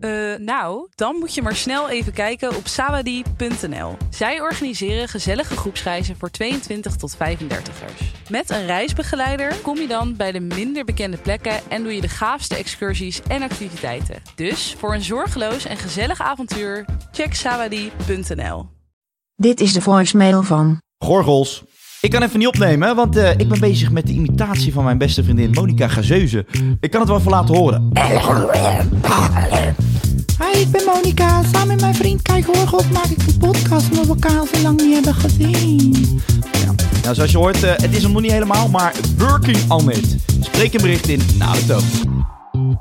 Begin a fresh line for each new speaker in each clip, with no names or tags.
eh, nou, dan moet je maar snel even kijken op sawadie.nl. Zij organiseren gezellige groepsreizen voor 22 tot 35ers. Met een reisbegeleider kom je dan bij de minder bekende plekken en doe je de gaafste excursies en activiteiten. Dus voor een zorgeloos en gezellig avontuur, check sawadie.nl.
Dit is de voicemail van.
Gorgels. Ik kan even niet opnemen, want eh, ik ben bezig met de imitatie van mijn beste vriendin Monica Gazeuze. Ik kan het wel even laten horen.
Hi, ik ben Monika. Samen met mijn vriend Kai Gorgels maak ik een podcast omdat we elkaar al zo lang niet hebben gezien.
Nou, zoals je hoort, eh, het is hem nog niet helemaal, maar working on it. Spreek een bericht in na de toon.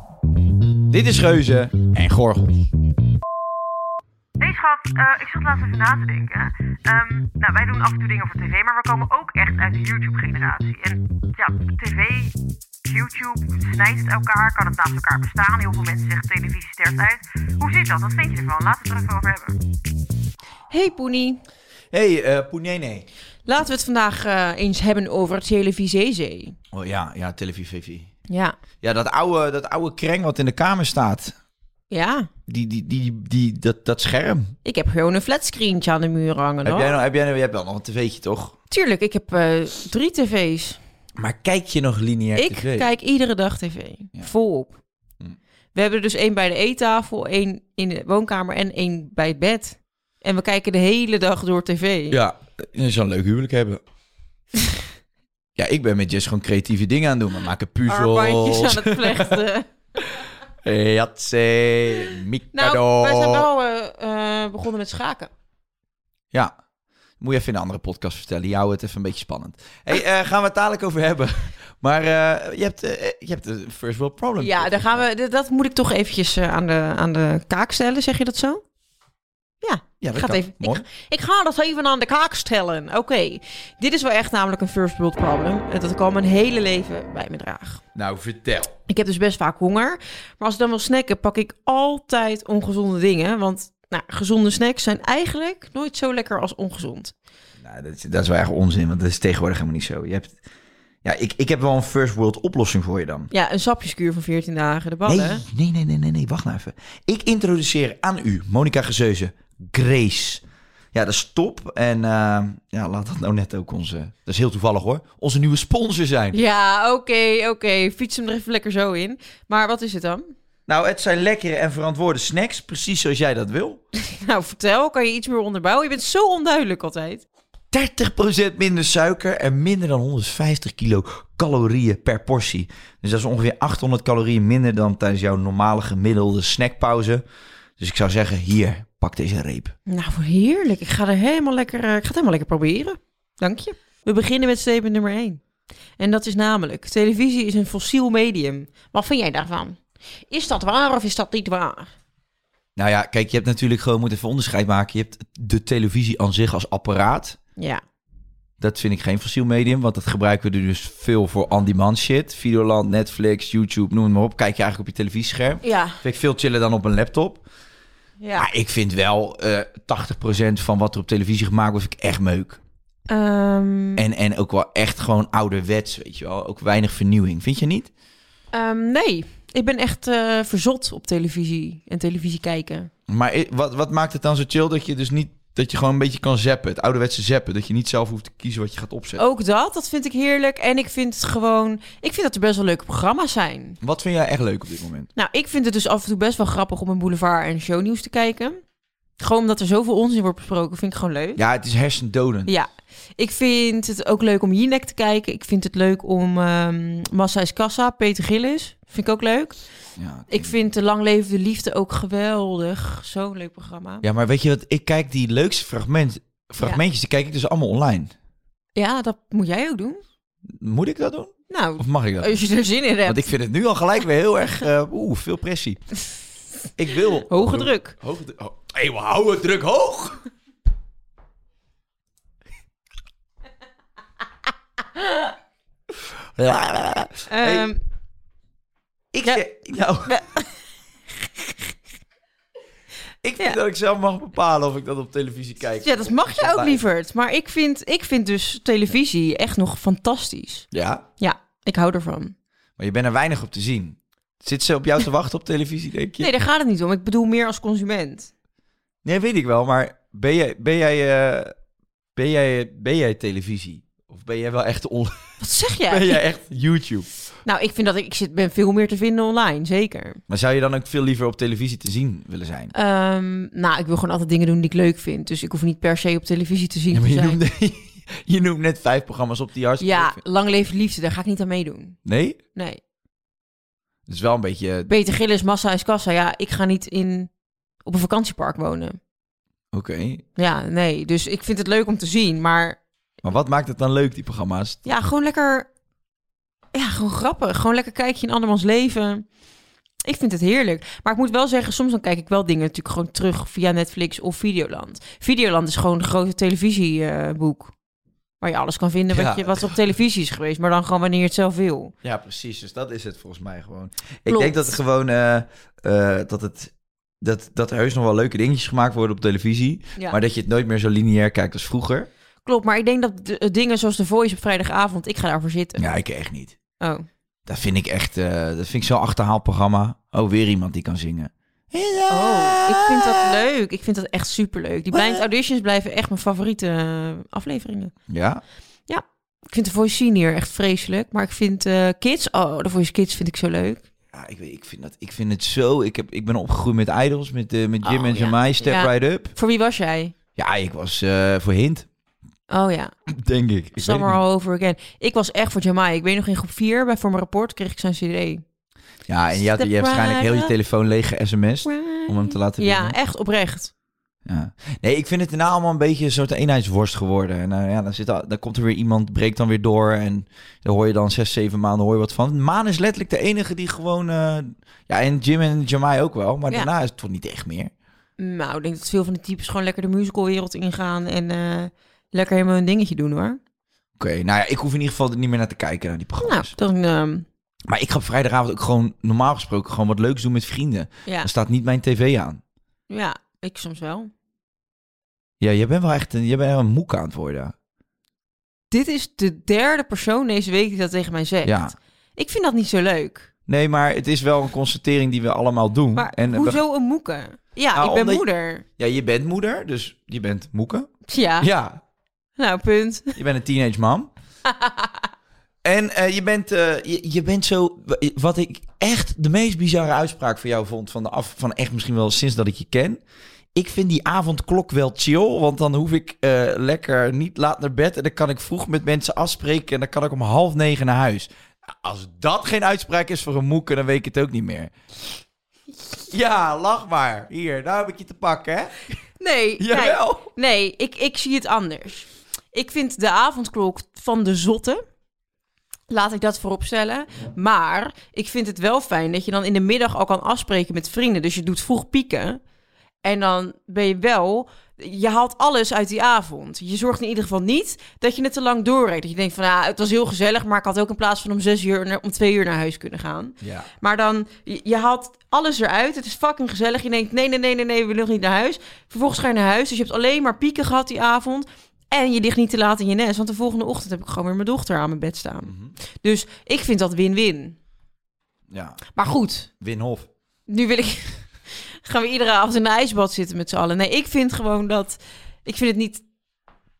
Dit is Geuze en Gorgels.
Nee, schat, eh, ik zat laatst even na te denken. Ehm, nou, wij doen af en toe dingen voor tv, maar we komen ook echt uit de YouTube-generatie. En ja, tv, YouTube, snijdt het elkaar, kan het naast elkaar bestaan. Heel veel mensen zeggen televisie sterft uit. Hoe zit dat? Wat vind je ervan? Laten we het er even over hebben.
Hey Poenie,
Hey, eh Poenene.
laten we het vandaag eh, eens hebben over televisie.
Oh ja, ja, televisie.
Ja,
Ja, dat oude, dat oude kreng wat in de kamer staat.
ja.
Die, die, die, die, dat, dat scherm.
Ik heb gewoon een flatscreentje aan de muur hangen.
Heb
hoor.
jij, nou, heb jij, nou- jij hebt wel nog een tv'tje, toch?
Tuurlijk, ik heb eh, drie tv's.
Maar kijk je nog lineair
ik
tv?
kijk iedere dag tv,
Ja.
volop.
Hm.
We hebben er dus één bij de eettafel, één in de woonkamer en één bij het bed. En we kijken de hele dag door tv.
Ja, je zou een leuk huwelijk hebben. ja, ik ben met Jess gewoon creatieve dingen aan het doen. We maken
Armbandjes
puzzels.
aan het vlechten.
Jatse,
nou,
Mikado.
wij zijn wel eh, eh, begonnen met schaken.
Ja, moet je even in een andere podcast vertellen. Jou het even een beetje spannend. hey, eh, gaan we het dadelijk over hebben. Maar eh, je, hebt, eh, je hebt een first world problem.
Ja, daar gaan we, d- dat moet ik toch eventjes eh, aan, de, aan de kaak stellen, zeg je dat zo? Ja,
Ja, dat
gaat
kan.
even. Ik,
Mooi.
ga- ik ga dat even aan de kaak stellen. Oké, dit is wel echt namelijk een first world problem. eh, Dat ik al mijn hele leven bij me draag.
Nou, vertel.
Ik heb dus best vaak honger. Maar als ik dan wil snacken, pak ik altijd ongezonde dingen. Want nou, gezonde snacks zijn eigenlijk nooit zo lekker als ongezond.
Nou, dat, is- dat is wel echt onzin, want dat is tegenwoordig helemaal niet zo. Je hebt, ja, ik, ik heb wel een first world oplossing voor je dan.
Ja, een sapjeskuur van 14 dagen, de ballen.
Nee, nee, nee, nee, nee, nee, wacht nou even. Ik introduceer aan u, Monica Gezeuze, Grace. Ja, dat is top. En eh, ja, laat dat nou net ook onze, dat is heel toevallig hoor, onze nieuwe sponsor zijn.
Ja, oké, oké. Fiets hem er even lekker zo in. Maar wat is het dan?
Nou, het zijn lekkere en verantwoorde snacks, precies zoals jij dat wil.
Nou, vertel, kan je iets meer onderbouwen? Je bent zo onduidelijk altijd.
30% minder suiker en minder dan 150 kilo calorieën per portie. Dus dat is ongeveer 800 calorieën minder dan tijdens jouw normale gemiddelde snackpauze. Dus ik zou zeggen, hier, pak deze reep.
Nou, wat heerlijk. Ik ga, er helemaal lekker, eh, ik ga het helemaal lekker proberen. Dank je. We beginnen met statement nummer 1. En dat is namelijk, televisie is een fossiel medium. Wat vind jij daarvan? Is dat waar of is dat niet waar?
Nou ja, kijk, je hebt natuurlijk gewoon moet even onderscheid maken. Je hebt de televisie aan zich als apparaat.
Ja,
Dat vind ik geen fossiel medium, want dat gebruiken we er dus veel voor on-demand shit. Videoland, Netflix, YouTube, noem het maar op. Kijk je eigenlijk op je televisiescherm.
ja,
Vind ik veel chiller dan op een laptop.
ja.
Maar ik vind wel eh 80% van wat er op televisie gemaakt wordt, vind ik echt meuk.
Ehm,
En, en ook wel echt gewoon ouderwets, weet je wel. Ook weinig vernieuwing, vind je niet?
ehm, nee, ik ben echt eh, verzot op televisie en televisie kijken.
Maar i- wat, wat maakt het dan zo chill dat je dus niet... Dat je gewoon een beetje kan zappen, het ouderwetse zappen. Dat je niet zelf hoeft te kiezen wat je gaat opzetten.
Ook dat, dat vind ik heerlijk. En ik vind het gewoon, ik vind dat er best wel leuke programma's zijn.
Wat vind jij echt leuk op dit moment?
Nou, ik vind het dus af en toe best wel grappig om een boulevard en shownieuws te kijken. Gewoon omdat er zoveel onzin wordt besproken, vind ik gewoon leuk.
Ja, het is hersendodend.
Ja. Ik vind het ook leuk om Jinek te kijken. Ik vind het leuk om ehm Massa is Kassa, Peter Gillis. Vind ik ook leuk.
Ja,
Ik vind De Lang Levende Liefde ook geweldig. Zo'n leuk programma. Ja,
ja, maar weet je wat? Ik kijk die leukste fragment, fragmentjes, die kijk ik dus allemaal online.
dat moet jij ook doen.
Moet ik dat doen?
Nou,
Of mag ik dat?
als je er zin in hebt.
Want ik vind het nu al gelijk weer heel erg, eh, oeh, veel pressie. Ik wil...
Hoge druk.
Hoge druk. Oh, hey, we houden het druk hoog.
Ehm,
Ik
Ja.
zeg- nou.
Ja.
ik vind
Ja.
dat ik zelf mag bepalen of ik dat op televisie kijk.
ja, dat mag je ook, lieverd. Maar ik vind, ik vind dus televisie echt nog fantastisch.
Ja,
Ja, ik hou ervan.
maar je bent er weinig op te zien. Zit ze op jou te wachten op televisie, denk je?
Nee, daar gaat het niet om. Ik bedoel meer als consument.
Nee, weet ik wel, maar ben jij, ben jij, eh, ben jij, ben jij televisie? Of ben jij wel echt, on-
Wat zeg jij?
ben jij echt YouTube?
Nou, ik vind dat ik, ik zit, ben veel meer te vinden online, zeker.
Maar zou je dan ook veel liever op televisie te zien willen zijn?
Ehm, nou, ik wil gewoon altijd dingen doen die ik leuk vind. Dus ik hoef niet per se op televisie te zien.
Ja, maar
te
je,
zijn.
noemde, je noemt net vijf programma's op die hartstikke
ja
leuk vindt.
lang leven liefde, daar ga ik niet aan meedoen.
Nee?
Nee.
Dat is wel een beetje... Oké.
Beter Gillis, Massa is Kassa. Ja, ik ga niet in, op een vakantiepark wonen.
eh,
Ja, nee. Dus ik vind het leuk om te zien. Maar
Maar wat maakt het dan leuk, die programma's?
ja, gewoon lekker... Ja, gewoon grappig. Gewoon lekker kijkje in andermans leven. Ik vind het heerlijk. Maar ik moet wel zeggen, soms dan kijk ik wel dingen natuurlijk gewoon terug via Netflix of Videoland. Videoland is gewoon een grote televisieboek. eh, waar je alles kan vinden wat,
Ja.
je, wat op televisie is geweest. Maar dan gewoon wanneer je het zelf wil.
Ja, precies. Dus dat is het volgens mij gewoon. Ik
Klopt.
denk dat het gewoon... eh, eh, dat het... Dat, dat er heus nog wel leuke dingetjes gemaakt worden op televisie.
Ja.
Maar dat je het nooit meer zo lineair kijkt als vroeger.
Klopt, maar ik denk dat de- eh, dingen zoals The Voice op vrijdagavond, ik ga daarvoor zitten.
Ja, ik echt niet.
Oh.
Dat vind ik echt... eh, dat vind ik zo'n achterhaald programma. Oh, weer iemand die kan zingen.
oh, ik vind dat leuk. Ik vind dat echt superleuk. Die blind auditions blijven echt mijn favoriete eh, afleveringen.
Ja?
Ik vind The Voice Senior echt vreselijk, maar ik vind eh, Kids, oh, The Voice Kids vind ik zo leuk.
Ja, ik, weet, ik, vind dat, ik vind het zo... Ik, heb, ik ben opgegroeid met idols, met, eh, met Jim
Oh,
en
ja.
Jamai, Step
Ja.
Right Up.
Voor wie was jij?
Ja, ik was eh, voor Hint,
Oh ja,
denk ik. ik weet
Summer
het
All Over Again. Ik was echt voor Jamai. Ik weet nog in groep 4, bij voor mijn rapport kreeg ik zijn cd.
niet. Ja, en je, had, je hebt waarschijnlijk heel je telefoon leeg ge-sms'd om hem te laten
Ja,
winnen.
echt oprecht.
Ja. Nee, ik vind het daarna allemaal een beetje een soort eenheidsworst geworden. En nou ja, dan, zit, al- dan komt er weer iemand, breekt dan weer door. En daar hoor je dan zes, zeven maanden hoor je wat van. Maan is letterlijk de enige die gewoon... eh, ja, en Jim en Jamai ook wel. Maar
Ja.
daarna is het toch niet echt meer.
Nou, ik denk dat veel van die types gewoon lekker de musicalwereld ingaan en eh, lekker helemaal hun dingetje doen hoor.
Oké, nou ja, ik hoef in ieder geval er niet meer naar te kijken, naar die
Nou,
programma's.
dan ehm,
Maar ik ga op vrijdagavond ook gewoon, normaal gesproken, gewoon wat leuks doen met vrienden.
ja.
Dan staat niet mijn tv aan.
ja, ik soms wel.
Ja, je bent wel echt een, je bent wel een moek aan het worden.
Dit is de derde persoon deze week die dat tegen mij zegt.
Ja.
Ik vind dat niet zo leuk.
Nee, maar het is wel een constatering die we allemaal doen.
Maar
en we-
hoezo een moeke? Ja,
Nou,
ik ben
omdat-
moeder.
ja, je bent moeder, dus je bent moeke.
Tja,
Ja,
nou punt.
je bent een teenage mom. en eh, je, bent, eh, je, je bent zo... Wat ik echt de meest bizarre uitspraak van jou vond... van, de af, van echt misschien wel sinds dat ik je ken... Ik vind die avondklok wel chill, want dan hoef ik eh, lekker niet laat naar bed... en dan kan ik vroeg met mensen afspreken en dan kan ik om half negen naar huis. Als dat geen uitspraak is voor een moeke, dan weet ik het ook niet meer. Ja, lach maar. Hier, nou heb ik je te pakken, hè?
Nee,
Jawel.
kijk, nee ik, ik zie het anders. Ik vind de avondklok van de zotte. Laat ik dat vooropstellen. Maar ik vind het wel fijn dat je dan in de middag al kan afspreken met vrienden. Dus je doet vroeg pieken. En dan ben je wel... Je haalt alles uit die avond. Je zorgt in ieder geval niet dat je het te lang doorreed. Dat je denkt van, ja, het was heel gezellig... maar ik had ook in plaats van om zes uur naar- om twee uur naar huis kunnen gaan.
Ja.
Maar dan, je, je haalt alles eruit. Het is fucking gezellig. Je denkt, nee, nee, nee, nee, nee, we willen niet naar huis. Vervolgens ga je naar huis. Dus je hebt alleen maar pieken gehad die avond. En je ligt niet te laat in je nest. Want de volgende ochtend heb ik gewoon weer mijn dochter aan mijn bed staan.
Mhm.
Dus ik vind dat win-win.
Ja,
Maar goed,
Winhof.
nu wil ik... gaan we iedere avond in een ijsbad zitten met z'n allen. Nee, ik vind gewoon dat... Ik vind het niet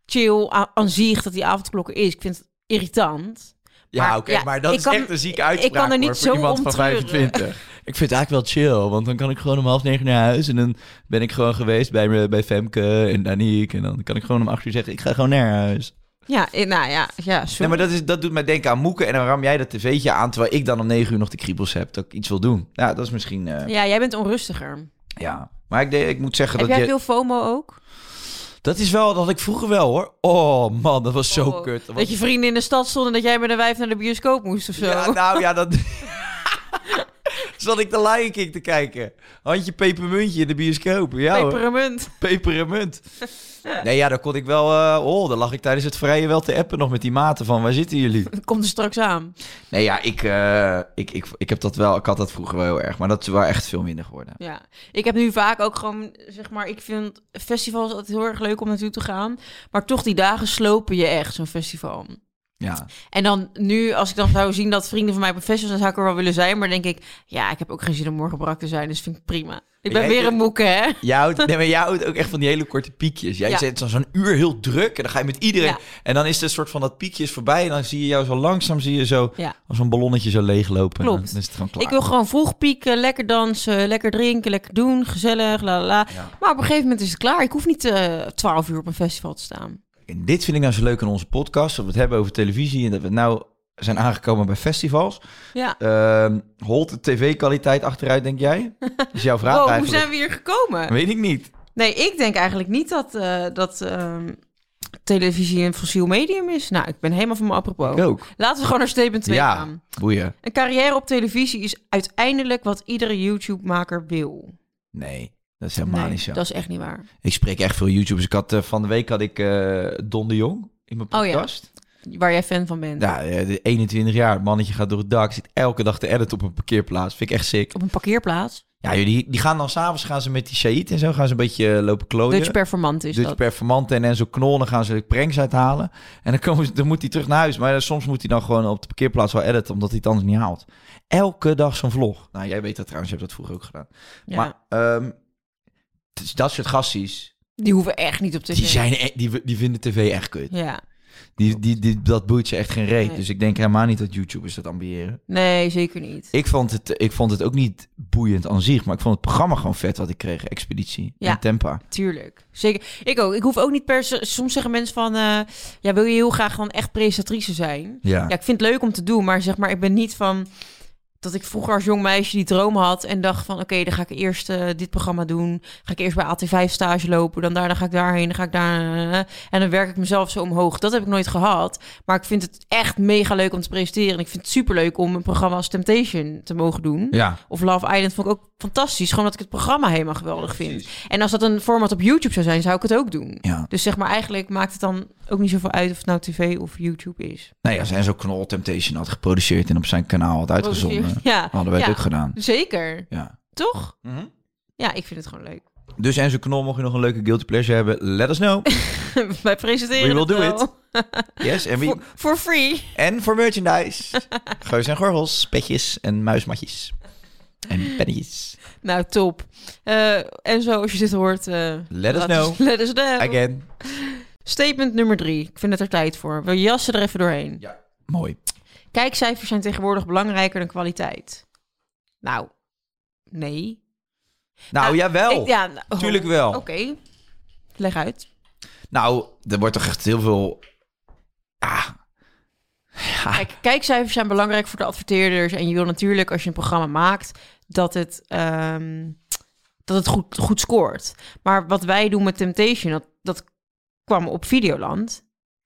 chill aan- aan zich dat die avondklok er is. Ik vind het irritant.
Ja,
Maar-
oké,
ja,
maar dat
ik
is
kan-
echt een zieke
ik- ik
uitspraak
kan er niet
hoor, voor
zo
iemand
om
van
treuren.
25. Ik vind het eigenlijk wel chill, want dan kan ik gewoon om half negen naar huis... en dan ben ik gewoon geweest bij, me- bij Femke en Danique... en dan kan ik gewoon om acht uur zeggen, ik ga gewoon naar huis.
Ja, eh, nou ja, ja sorry.
Nee, maar dat, is, dat doet mij denken aan moeken. En dan ram jij dat tv'tje aan, terwijl ik dan om negen uur nog de kriebels heb. Dat ik iets wil doen. Ja, dat is misschien... eh, ja.
Ja, jij bent onrustiger.
Maar ik, de- ik moet zeggen
Heb
dat
jij
je...
veel FOMO ook?
Dat is wel, dat had ik vroeger wel hoor. Oh man, dat was zo
Oh,
kut. was-
Dat je vrienden in de stad stonden en dat jij met een wijf naar de bioscoop moest of zo.
Ja, nou ja, dat... Zat ik de Lion King te kijken. Handje pepermuntje in de bioscoop. Ja hoor.
Pepermunt.
pepermunt. Nee, ja, daar kon ik wel... eh, oh, daar lag ik tijdens het vrije wel te appen nog met die maten van... Waar zitten jullie?
Dat komt er straks aan.
Nee, ja, ik, eh, ik, ik, ik heb dat wel... Ik had dat vroeger wel heel erg. Maar dat is wel echt veel minder geworden.
Ja, ik heb nu vaak ook gewoon, zeg maar, ik vind festivals altijd heel erg leuk om naartoe te gaan. Maar toch, die dagen slopen je echt, zo'n festival.
Ja.
En dan nu, als ik dan zou zien dat vrienden van mij op een festival zijn, zou ik er wel willen zijn. Maar dan denk ik, ja, ik heb ook geen zin om morgen brak te zijn, dus vind ik prima. Ik ben
Jij-
weer een moeke, hè?
Jij houdt, nee, maar jij houdt ook echt van die hele korte piekjes. Jij
Ja.
zit dan zo'n uur heel druk en dan ga je met iedereen.
Ja.
En dan is het een soort van dat piekje is voorbij en dan zie je jou zo langzaam, zie je zo
Ja.
als een ballonnetje zo leeglopen.
Klopt.
En dan is het gewoon klaar.
Ik wil gewoon vroeg pieken, lekker dansen, lekker drinken, lekker doen, gezellig, la la la. Maar op een gegeven moment is het klaar. Ik hoef niet eh, twaalf uur op een festival te staan.
En dit vind ik nou zo leuk aan onze podcast, dat we het hebben over televisie en dat we nou zijn aangekomen bij festivals.
Ja.
Ehm, holt de tv-kwaliteit achteruit, denk jij? Dat is jouw vraag
Wow, Oh, hoe
eigenlijk.
zijn we hier gekomen?
Weet ik niet.
Nee, ik denk eigenlijk niet dat, eh, dat ehm, televisie een fossiel medium is. Nou, ik ben helemaal van mijn apropos.
Ik ook.
Laten we gewoon naar statement 2
ja,
gaan.
boeien.
Een carrière op televisie is uiteindelijk wat iedere YouTube-maker wil.
Nee, dat is helemaal
Nee,
niet zo.
Dat is echt niet waar.
Ik spreek echt veel YouTubers. Ik had, eh, van de week had ik eh, Don de Jong in mijn
Oh ja.
podcast.
Waar jij fan van bent.
Ja, eh, de 21 jaar, het mannetje gaat door het dak, zit elke dag te editen op een parkeerplaats. Vind ik echt sick.
Op een parkeerplaats.
Ja, joh, die, die gaan dan s'avonds gaan ze met die Shaït en zo gaan ze een beetje eh, lopen klooien.
Dutch performant is
Dutch
dat.
Performante en Enzo Knol, dan gaan ze de pranks uithalen. En dan, komen ze, dan moet hij terug naar huis. Maar ja, soms moet hij dan gewoon op de parkeerplaats wel editen, omdat hij het anders niet haalt. Elke dag zo'n vlog. Nou, jij weet dat trouwens, je hebt dat vroeger ook gedaan.
Ja.
Maar ehm, dus dat soort gasties,
Die hoeven echt niet op tv.
die, zijn, e- die, die vinden tv echt kut.
Dus Ja.
Die, die, die, dat boeit ze echt geen reet.
Nee.
Dus ik denk helemaal niet dat YouTubers dat ambiëren.
Nee, zeker niet.
Ik vond het, ik vond het ook niet boeiend aan zich, maar ik vond het programma gewoon vet wat ik kreeg. Expeditie
Ja.
en Tempa.
Tuurlijk. Zeker. Ik ook. Ik hoef ook niet per se... Soms zeggen mensen van... eh, ja, wil je heel graag gewoon echt presentatrice zijn?
Ja.
Ja, ik vind het leuk om te doen, maar zeg maar, ik ben niet van dat ik vroeger als jong meisje die droom had en dacht van, oké, dan ga ik eerst eh, dit programma doen, ga ik eerst bij AT5 stage lopen, dan daarna ga ik daarheen, dan ga ik daar eh, en dan werk ik mezelf zo omhoog. Dat heb ik nooit gehad, maar ik vind het echt mega leuk om te presenteren. En ik vind het super leuk om een programma als Temptation te mogen doen.
Ja.
Of Love Island vond ik ook fantastisch, gewoon dat ik het programma helemaal geweldig vind. En als dat een format op YouTube zou zijn, zou ik het ook doen.
ja.
Dus zeg maar, eigenlijk maakt het dan ook niet zoveel uit of het nou tv of YouTube is.
Nou ja, zijn zo knol Temptation had geproduceerd en op zijn kanaal had uitgezonden.
Ja,
Hadden wij
ja,
het ook gedaan.
zeker.
Ja.
Toch?
Mhm.
Ja, ik vind het gewoon leuk.
Dus Enzo Knol, mocht je nog een leuke guilty pleasure hebben, let us know.
Wij presenteren
We will
het
do
wel.
it. Yes, en, wie,
Voor, voor free.
en voor merchandise. Geus en gorgels, petjes en muismatjes. En pennetjes.
Nou, top. Eh, en zo, als je dit hoort... eh,
Let us
laat
know.
let us know.
Again.
Statement nummer drie. Ik vind het er tijd voor. We jassen er even doorheen.
Mooi.
Kijkcijfers zijn tegenwoordig belangrijker dan kwaliteit. Nou, nee.
Nou,
Nou,
jawel.
Ik- ja, nou, oh,
Tuurlijk wel.
Oké. Leg uit.
Nou, er wordt toch echt heel veel... Ah,
Kijk, kijkcijfers zijn belangrijk voor de adverteerders. En je wil natuurlijk, als je een programma maakt, dat het, ehm, dat het goed, goed scoort. Maar wat wij doen met Temptation, dat, dat kwam op Videoland.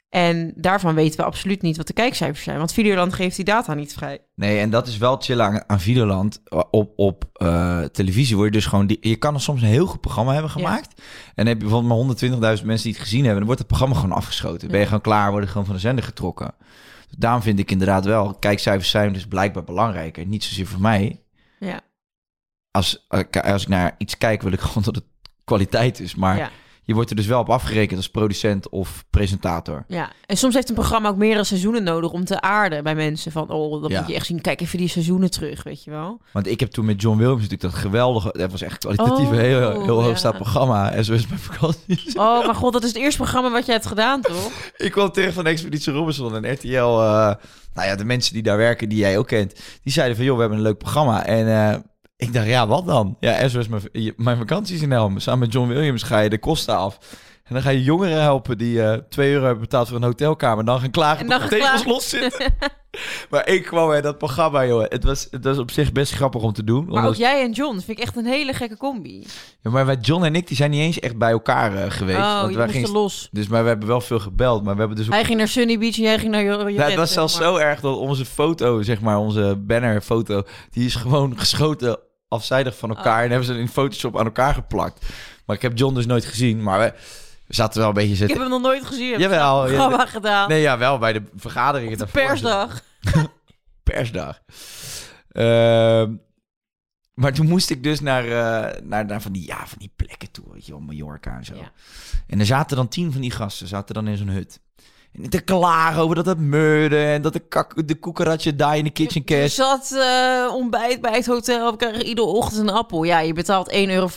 En daarvan weten we absoluut niet wat de kijkcijfers zijn. Want Videoland geeft die data niet vrij.
Nee, en dat is wel chill aan, aan Videoland. Op, op eh, televisie word je dus gewoon... Die, je kan er soms een heel goed programma hebben gemaakt. En dan heb je bijvoorbeeld maar 120.000 mensen die het gezien hebben... dan wordt het programma gewoon afgeschoten. Ben je gewoon klaar, worden gewoon van de zender getrokken. Daarom vind ik inderdaad wel... Kijkcijfers zijn dus blijkbaar belangrijker. Niet zozeer voor mij.
Ja.
Als, eh, k- als ik naar iets kijk, wil ik gewoon dat het kwaliteit is. Maar
Ja.
je wordt er dus wel op afgerekend als producent of presentator.
Ja, en soms heeft een programma ook meerdere seizoenen nodig om te aarden bij mensen. Van, oh, dat
Ja.
moet je echt zien. Kijk even die seizoenen terug, weet je wel.
Want ik heb toen met John Williams natuurlijk dat geweldige... Dat was echt kwalitatief
Oh,
een heel, heel
ja.
hoogstaand programma. En zo is het bij vakantie.
Oh, maar god, dat is het eerste programma wat jij hebt gedaan, toch?
Ik kwam terug van Expeditie Robinson en RTL. eh, nou ja, de mensen die daar werken, die jij ook kent, die zeiden van joh, we hebben een leuk programma. En eh, ik dacht, ja, wat dan? Ja, SOS, mijn, je- mijn vakantie is in Helm. Samen met John Williams ga je de kosten af. En dan ga je jongeren helpen die eh 2 euro hebben betaald voor een hotelkamer. En dan gaan klagen
En
dat
dan
de
gaan
tegels
klagen.
los zitten. maar ik kwam bij dat programma, jongen. Het was, het was op zich best grappig om te doen.
Maar ook
omdat-
jij en John vind ik echt een hele gekke combi.
Ja, maar wij, John en ik die zijn niet eens echt bij elkaar eh, geweest.
oh,
want
je
wij
moest
gingen-
er los.
Dus maar we hebben wel veel gebeld. Maar we hebben dus ook
Hij ging naar Sunny Beach en jij ging naar Jorrit.
Nou, het was zelfs zo erg dat onze foto, zeg maar, onze bannerfoto, die is gewoon geschoten afzijdig van elkaar.
Oh.
En hebben ze in Photoshop aan elkaar geplakt. Maar ik heb John dus nooit gezien. Maar we we zaten wel een beetje
Ik
zitten.
heb hem nog nooit gezien. Ik heb
Jawel.
een
ja,
programma gedaan.
nee, ja, wel bij de vergaderingen.
de
daarvoor.
persdag.
Persdag. Ehm, maar toen moest ik dus naar, eh, naar, naar van, die, ja, van die plekken toe, weet je wel, Mallorca en zo.
Ja.
En er zaten dan tien van die gasten, zaten dan in zo'n hut. En te klagen over dat het meurde en dat de, kak, de koekeratje daar in de kitchen
Je
cash.
zat eh, ontbijt bij het hotel. We kregen iedere ochtend een appel. Ja, je betaalt 1,50 euro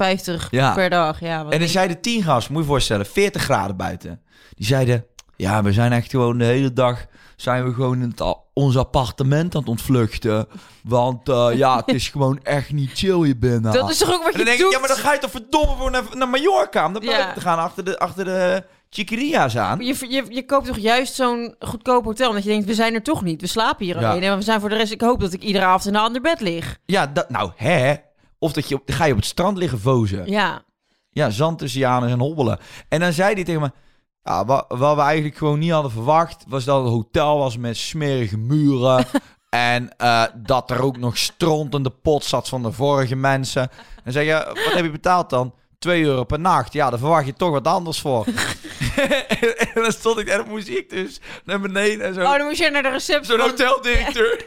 Ja.
per dag. Ja,
En
wat
er
denk je?
zeiden tien gasten, moet je je voorstellen, 40 graden buiten. Die zeiden, ja, we zijn echt gewoon de hele dag, zijn we gewoon in het, a- ons appartement aan het ontvluchten. Want eh, ja, het is gewoon echt niet chill hier binnen.
Dat is toch ook
En
wat je
dan denk ik,
doet?
ja, maar dan ga je toch verdomme voor naar, naar Mallorca om dat
Ja.
buiten te gaan achter de, achter de chiquiria's aan.
je, je, je koopt toch juist zo'n goedkoop hotel. Omdat je denkt, we zijn er toch niet. We slapen hier
Ja.
alleen. En we zijn voor de rest... Ik hoop dat ik iedere avond in een ander bed lig.
Ja, dat, nou, hè? Of dat je op, ga je op het strand liggen vozen.
Ja.
Ja, zand tussen je anus en hobbelen. En dan zei hij tegen me... Ja, wat, wat we eigenlijk gewoon niet hadden verwacht... was dat het hotel was met smerige muren... en eh, dat er ook nog stront in de pot zat van de vorige mensen. En zeg je, wat heb je betaald dan? 2 euro per nacht. Ja, daar verwacht je toch wat anders voor. en dan stond ik en dan moest ik dus naar beneden en zo.
Oh, dan moest je naar de receptie.
Zo'n
van-
hoteldirecteur.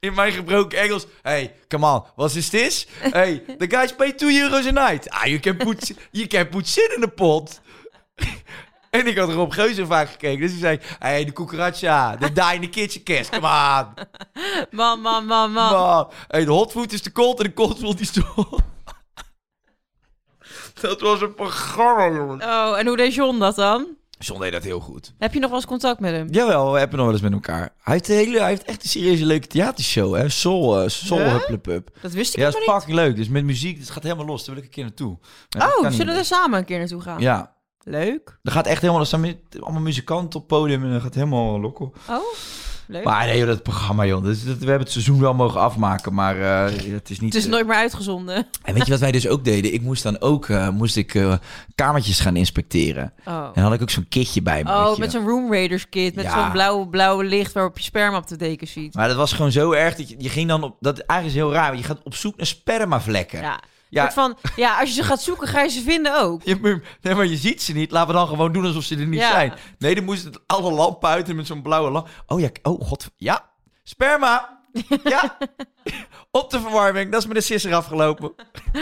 In mijn gebroken Engels. Hey, come on. What is this? Hey, the guys pay 2 euros a night. Ah, you can put, you can put shit in the pot. En ik had Rob Geuze vaak gekeken. Dus hij zei, hey, de cucaracha. De die in the kitchen cast. Come on.
Man, man, man, man.
Come on. Hey, de hot food is te cold en de cold food is te hot. Dat was een programma, jongen.
Oh, en hoe deed John dat dan?
John deed dat heel goed.
Heb je nog wel eens contact met hem?
Jawel, we hebben nog wel eens met elkaar. Hij heeft, een hele, hij heeft echt een serieuze leuke theatershow, hè? Soul, eh, Soul
Ja?
Hup, Hup, Hup.
Dat wist ik
Ja, dat is
helemaal
fucking leuk. Dus met muziek, het gaat helemaal los. Daar wil ik een keer naartoe. Maar dat
niet.
kan
Oh, zullen we
niet.
er samen een keer naartoe gaan?
Ja,
Leuk.
er gaat echt helemaal... Er staan mu- allemaal muzikanten op het podium en dat gaat helemaal loco.
Oh, leuk.
Maar nee, joh, dat programma, joh. Dus, dat, we hebben het seizoen wel mogen afmaken, maar eh, het is niet...
het is
eh,
nooit meer uitgezonden.
En weet je wat wij dus ook deden? Ik moest dan ook eh, moest ik, eh, kamertjes gaan inspecteren.
Oh,
En dan had ik ook zo'n kitje bij me. weet
oh
je.
met zo'n Room Raiders kit. Met
Ja.
zo'n blauwe, blauwe licht waarop je sperma op de deken ziet.
Maar dat was gewoon zo erg dat je, je ging dan op... Dat eigenlijk is heel raar, want je gaat op zoek naar spermavlekken.
Ja.
Ja.
Ja. Van, ja, als je ze gaat zoeken, ga je ze vinden ook.
Je, moet- nee, maar je ziet ze niet. Laten we dan gewoon doen alsof ze er niet
Ja.
zijn. Nee, dan moest het alle lampen uit en met zo'n blauwe lamp. Oh ja, oh god. Ja, sperma. Ja, op de verwarming. Dat is met de sisser afgelopen.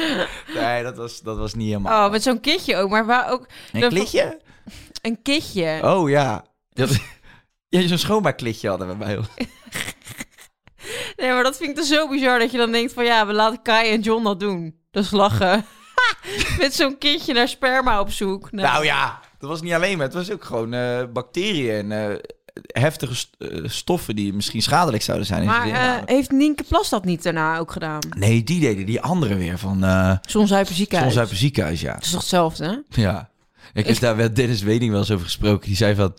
Nee, dat was, dat was niet helemaal.
Oh, met zo'n kitje ook. Maar waar ook...
een
dat-
klitje?
Een kitje.
Oh ja. Dat, ja, zo'n schoonmaakklitje hadden we bij ons.
Nee, maar dat vind ik dus zo bizar dat je dan denkt van... Ja, we laten Kai en John dat doen. Dat is lachen. met zo'n kitje naar sperma op zoek. Nou,
Nou ja, dat was niet alleen maar. Het was ook gewoon eh, bacteriën en eh, heftige st- eh, stoffen die misschien schadelijk zouden zijn. in
Maar
je
eh,
lichaam.
heeft Nienke Plas dat niet daarna ook gedaan?
nee, die deden die andere weer van... eh,
Soms uit ziekenhuis.
Soms uit het ziekenhuis, ja.
Het is toch hetzelfde, hè?
Ja. Ik heb daar met Dennis Weding wel eens over gesproken. Die zei van...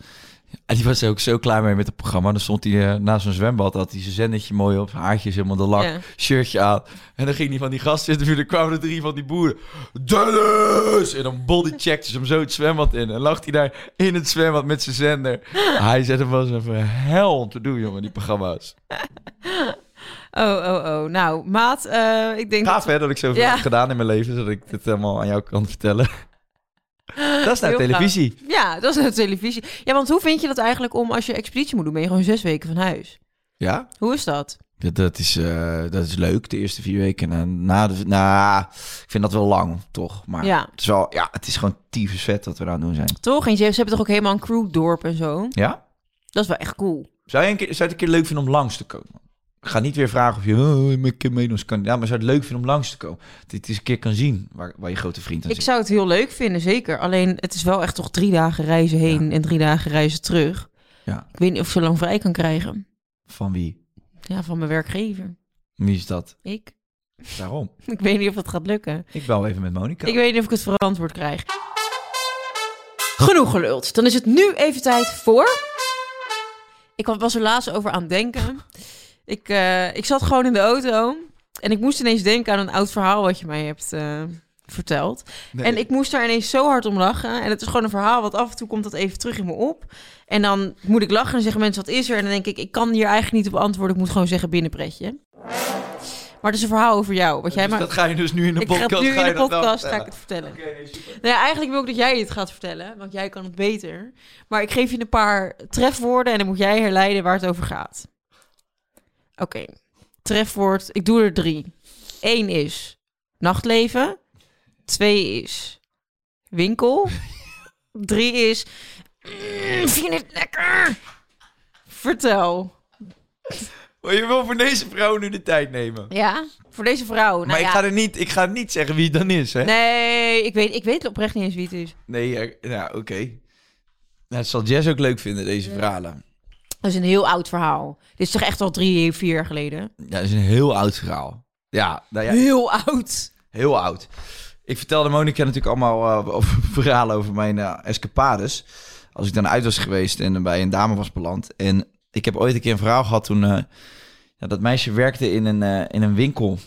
En die was er ook zo klaar mee met het programma. Dan stond hij eh, naast zo'n zwembad. Had hij zijn zennetje mooi op. Zijn haartjes helemaal de lak.
Ja.
Shirtje aan. En dan ging hij van die gasten interviewen. Dan kwamen er drie van die boeren. Dennis! En dan bodycheckte ze hem zo het zwembad in. En lag hij daar in het zwembad met zijn zender. Hij zei, dat was even hel om te doen, jongen, die programma's.
Oh, oh, oh. Nou, maat, eh, ik denk...
Gaaf hè, dat ik zoveel
Ja.
heb gedaan in mijn leven. Zodat ik dit helemaal aan jou kan vertellen. Dat is nou
Heel
televisie.
Ja, dat is nou televisie. Ja, want hoe vind je dat eigenlijk om als je expeditie moet doen? Ben je gewoon zes weken van huis?
Ja?
Hoe is dat?
Dat, dat, is, eh, dat is leuk, de eerste vier weken. En na de, na, ik vind dat wel lang, toch? Maar
Ja.
het, is wel, ja, het is gewoon tyfus vet wat we aan het doen zijn.
Toch? En ze hebben toch ook helemaal een crewdorp en zo?
Ja?
Dat is wel echt cool.
Zou je, een keer, zou je het een keer leuk vinden om langs te komen? Ik ga niet weer vragen of je oh, een keer meedoen als kandidaat, maar zou je het leuk vinden om langs te komen? Dat je het eens een keer kan zien waar, waar je grote vriend aan
Ik
zit.
zou het heel leuk vinden, zeker. Alleen, het is wel echt toch drie dagen reizen heen en drie dagen reizen terug.
Ja.
Ik weet niet of ik zo lang vrij kan krijgen.
Van wie?
Ja, van mijn werkgever.
Wie is dat?
Ik.
Daarom.
Ik weet niet of het gaat lukken.
Ik bel even met Monica.
Ik weet niet of ik het verantwoord krijg. Genoeg geluld. Dan is het nu even tijd voor... Ik was er laatst over aan het denken. Ik, eh, ik zat gewoon in de auto. En ik moest ineens denken aan een oud verhaal wat je mij hebt eh, verteld. En ik moest daar ineens zo hard om lachen. En het is gewoon een verhaal, want af en toe komt dat even terug in me op. En dan moet ik lachen en zeggen mensen, wat is er? En dan denk ik, ik kan hier eigenlijk niet op antwoorden. Ik moet gewoon zeggen binnenpretje. Maar het is een verhaal over jou. Wat jij
Dus
maar...
dat ga je dus nu in de
ik
podcast.
ga het nu
ga je
in de
dat dan
podcast ga ik
vertellen?
het vertellen. Nou ja, eigenlijk wil ik dat jij dit gaat vertellen, want jij kan het beter. Maar ik geef je een paar trefwoorden en dan moet jij herleiden waar het over gaat. Oké, trefwoord, ik doe er drie. Eén is nachtleven. Twee is winkel. Drie is, "Mm, vind je het lekker? Vertel.
Maar Oh, Je wil voor deze vrouw nu de tijd nemen.
Ja, voor deze vrouw. nou
maar
ja.
ik, ga er niet, ik ga niet zeggen wie het dan is, hè?
Nee, ik weet, ik weet oprecht niet eens wie het is.
Nee, eh, nou, oké. Nou, dat zal Jess ook leuk vinden, deze verhalen.
Dat is een heel oud verhaal. Dit is toch echt al drie, vier jaar geleden?
Ja, dat is een heel oud verhaal. Ja, nou ja,
Heel oud.
heel oud. Ik vertelde Monica natuurlijk allemaal eh, over, verhalen over mijn eh, escapades. Als ik dan uit was geweest en bij een dame was beland. En ik heb ooit een keer een verhaal gehad toen... eh, ja, dat meisje werkte in een, eh, in een winkel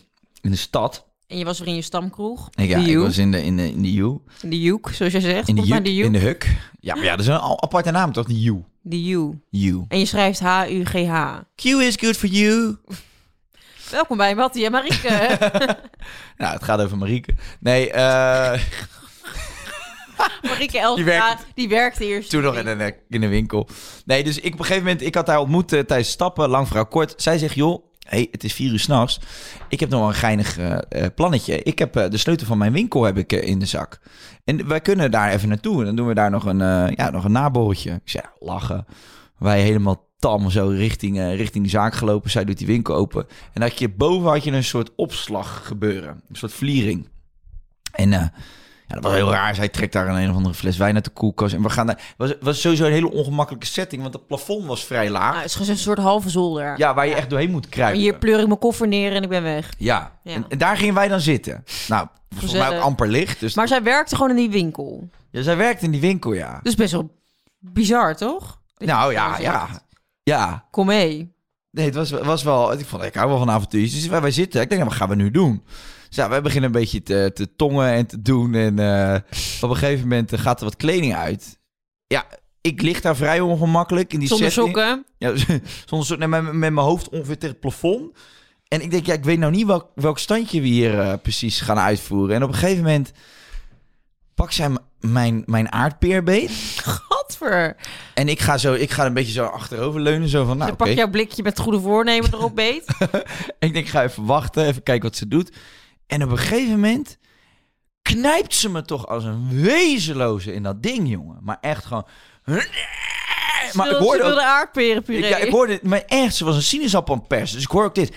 in de stad.
En je was weer in je stamkroeg.
En ja,
de
ik
Joek.
was in de, in de, in de U.
In de Joek, zoals jij zegt.
In de
Volgens mij
Juk. In de Huk. Ja, maar ja, dat is een al- aparte naam toch, de U.
De Joek.
U.
En je schrijft H-U-G-H.
Q is good for you.
Welkom bij Mattie en Marieke.
Nou, het gaat over Marieke. Nee, eh,
Marieke Elstra, die,
Die werkt-
werkte eerst.
toen nog in een, eh, in een winkel. Nee, dus ik op een gegeven moment, ik had haar ontmoet eh, tijdens stappen, lang verhaal kort. Zij zegt, joh, hey, het is vier uur s'nachts. Ik heb nog wel een geinig eh, eh, plannetje. Ik heb eh, de sleutel van mijn winkel heb ik, eh, in de zak. En wij kunnen daar even naartoe. En dan doen we daar nog een, eh, ja, nog een naborreltje. Ik zei, ja, lachen. Wij helemaal tam zo richting, eh, richting de zaak gelopen. Zij doet die winkel open. En had je, boven had je een soort opslag gebeuren. Een soort vliering. En eh, ja, dat was heel raar. Zij trekt daar een, een of andere fles wijn uit de koelkast. En we gaan daar... was, was sowieso een hele ongemakkelijke setting. Want het plafond was vrij laag.
Nou, het is gewoon een soort halve zolder.
Ah, ja, waar je echt doorheen moet
En
kruipen.
hier pleur ik mijn koffer neer en ik ben weg.
Ja,
Ja.
En, en daar gingen wij dan zitten. Nou, volgens mij ook
Gezellig.
amper licht. Dus
Maar zij werkte gewoon in die winkel.
ja, zij werkt in die winkel, ja.
Dus best wel bizar, toch? Dat je
nou
dat
ja,
zo
ja.
zegt.
Ja,
Kom mee.
Nee, het was, was wel... Ik vond, ik hou wel van avontuurtjes. Dus wij, wij zitten. Ik denk, nou, wat gaan we nu doen? Dus ja, wij beginnen een beetje te, te tongen en te doen. En eh, op een gegeven moment eh, gaat er wat kleding uit. Ja, ik lig daar vrij ongemakkelijk in die
Zonder
setting.
sokken.
Ja, zonder soort, nee, met, met mijn hoofd ongeveer tegen het plafond. En ik denk, ja, ik weet nou niet welk, welk standje we hier eh, precies gaan uitvoeren. En op een gegeven moment pak zij m- mijn, mijn aardpeerbeet.
Gadver.
En ik ga, zo, ik ga een beetje zo achterover leunen. Zo van, nou,
Dan
oké.
pak jouw blikje met goede voornemen erop beet.
En ik denk, ik ga even wachten, even kijken wat ze doet. En op een gegeven moment knijpt ze me toch als een wezenloze in dat ding, jongen. Maar echt gewoon... Maar ik
Ze
hoorde,
wilde
ook,
aardappelpuree.
ik, ja, ik hoorde... Maar echt, ze was een sinaasappel aan het persen. Dus ik hoor ook dit.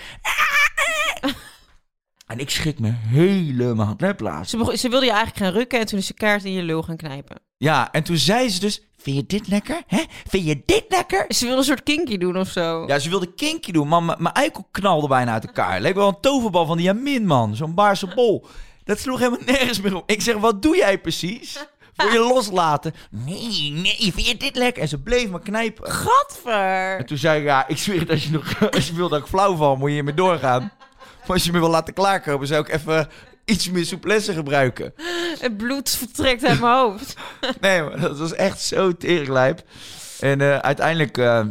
En ik schrik me helemaal naar plaats.
Ze, bego- ze wilde je eigenlijk gaan rukken en toen is ze kaart in je lul gaan knijpen.
Ja, en toen zei ze dus... Vind je dit lekker? Hè? Vind je dit lekker?
Ze wilde een soort kinky doen of zo.
Ja, ze wilde kinky doen, maar mijn mijn eikel knalde bijna uit elkaar. Leek wel een toverbal van die Jamin, man. Zo'n baarse bol. Dat sloeg helemaal nergens meer op. Ik zeg, wat doe jij precies? Wil je loslaten? Nee, nee, vind je dit lekker? En ze bleef maar knijpen.
Gadver.
En toen zei ik, ja, ik zweer het, als je, nog, als je wil dat ik flauw val, moet je hiermee doorgaan. Maar als je me wil laten klaarkomen, zou ik even iets meer souplesse gebruiken.
Het bloed vertrekt uit mijn hoofd.
Nee, maar dat was echt zo teringlijp. En eh, uiteindelijk eh,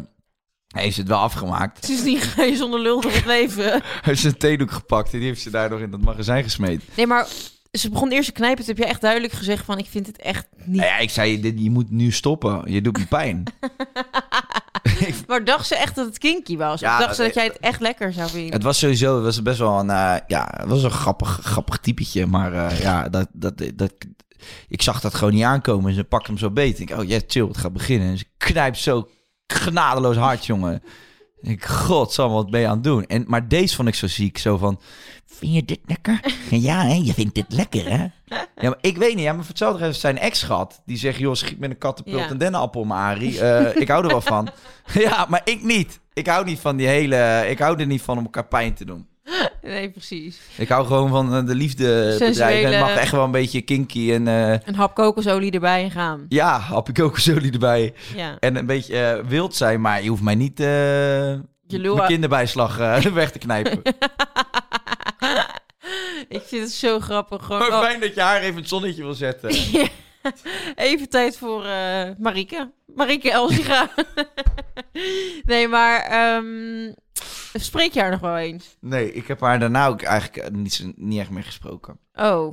heeft ze het wel afgemaakt.
Sindsdien ga je zonder lul door het leven.
heeft ze een theedoek gepakt en die heeft ze daar nog in dat magazijn gesmeed.
Nee, maar ze begon eerst te knijpen. Toen heb je echt duidelijk gezegd van ik vind het echt niet.
Nou ja, ik zei, dit, je moet nu stoppen. Je doet me pijn.
Maar dacht ze echt dat het kinky was?
Ja, eh,
of dacht ze dat
dat-
jij het echt lekker zou vinden?
het was sowieso het was best wel een, eh, ja, het was een grappig, grappig typetje. Maar eh, ja, dat, dat, dat, ik zag dat gewoon niet aankomen. En ze pakt hem zo beet. Ik denk, oh ja, chill, het gaat beginnen. En ze knijpt zo genadeloos hard, jongen. Ik, godsam, wat ben je aan het doen? En, maar deze vond ik zo ziek, zo van... Vind je dit lekker? Ja, hè? je vindt dit lekker, hè? Ja, maar ik weet niet. Ja, maar voor hetzelfde heeft zijn ex gehad. Die zegt, joh, schiet met een kattenpult
Ja.
en dennenappel, maar Arie. Eh, ik hou er wel van. ja, maar ik niet. Ik hou niet van die hele... Ik hou er niet van om elkaar pijn te doen.
Nee, precies.
Ik hou gewoon van eh, de liefdebedrijven.
Sensuele-
Het mag echt wel een beetje kinky. En eh,
Een hap kokosolie erbij en gaan.
ja, hapje kokosolie erbij.
Ja.
En een beetje eh, wild zijn. Maar je hoeft mij niet eh
lul-
mijn kinderbijslag eh, weg te knijpen.
Ik vind het zo grappig. Gewoon,
maar
oh,
fijn dat je haar even het zonnetje wil zetten.
Even tijd voor eh Marike. Marike Elsiga. nee, maar ehm, spreek je haar nog wel eens?
Nee, ik heb haar daarna ook eigenlijk eh, niet, zo- niet echt meer gesproken.
Oh,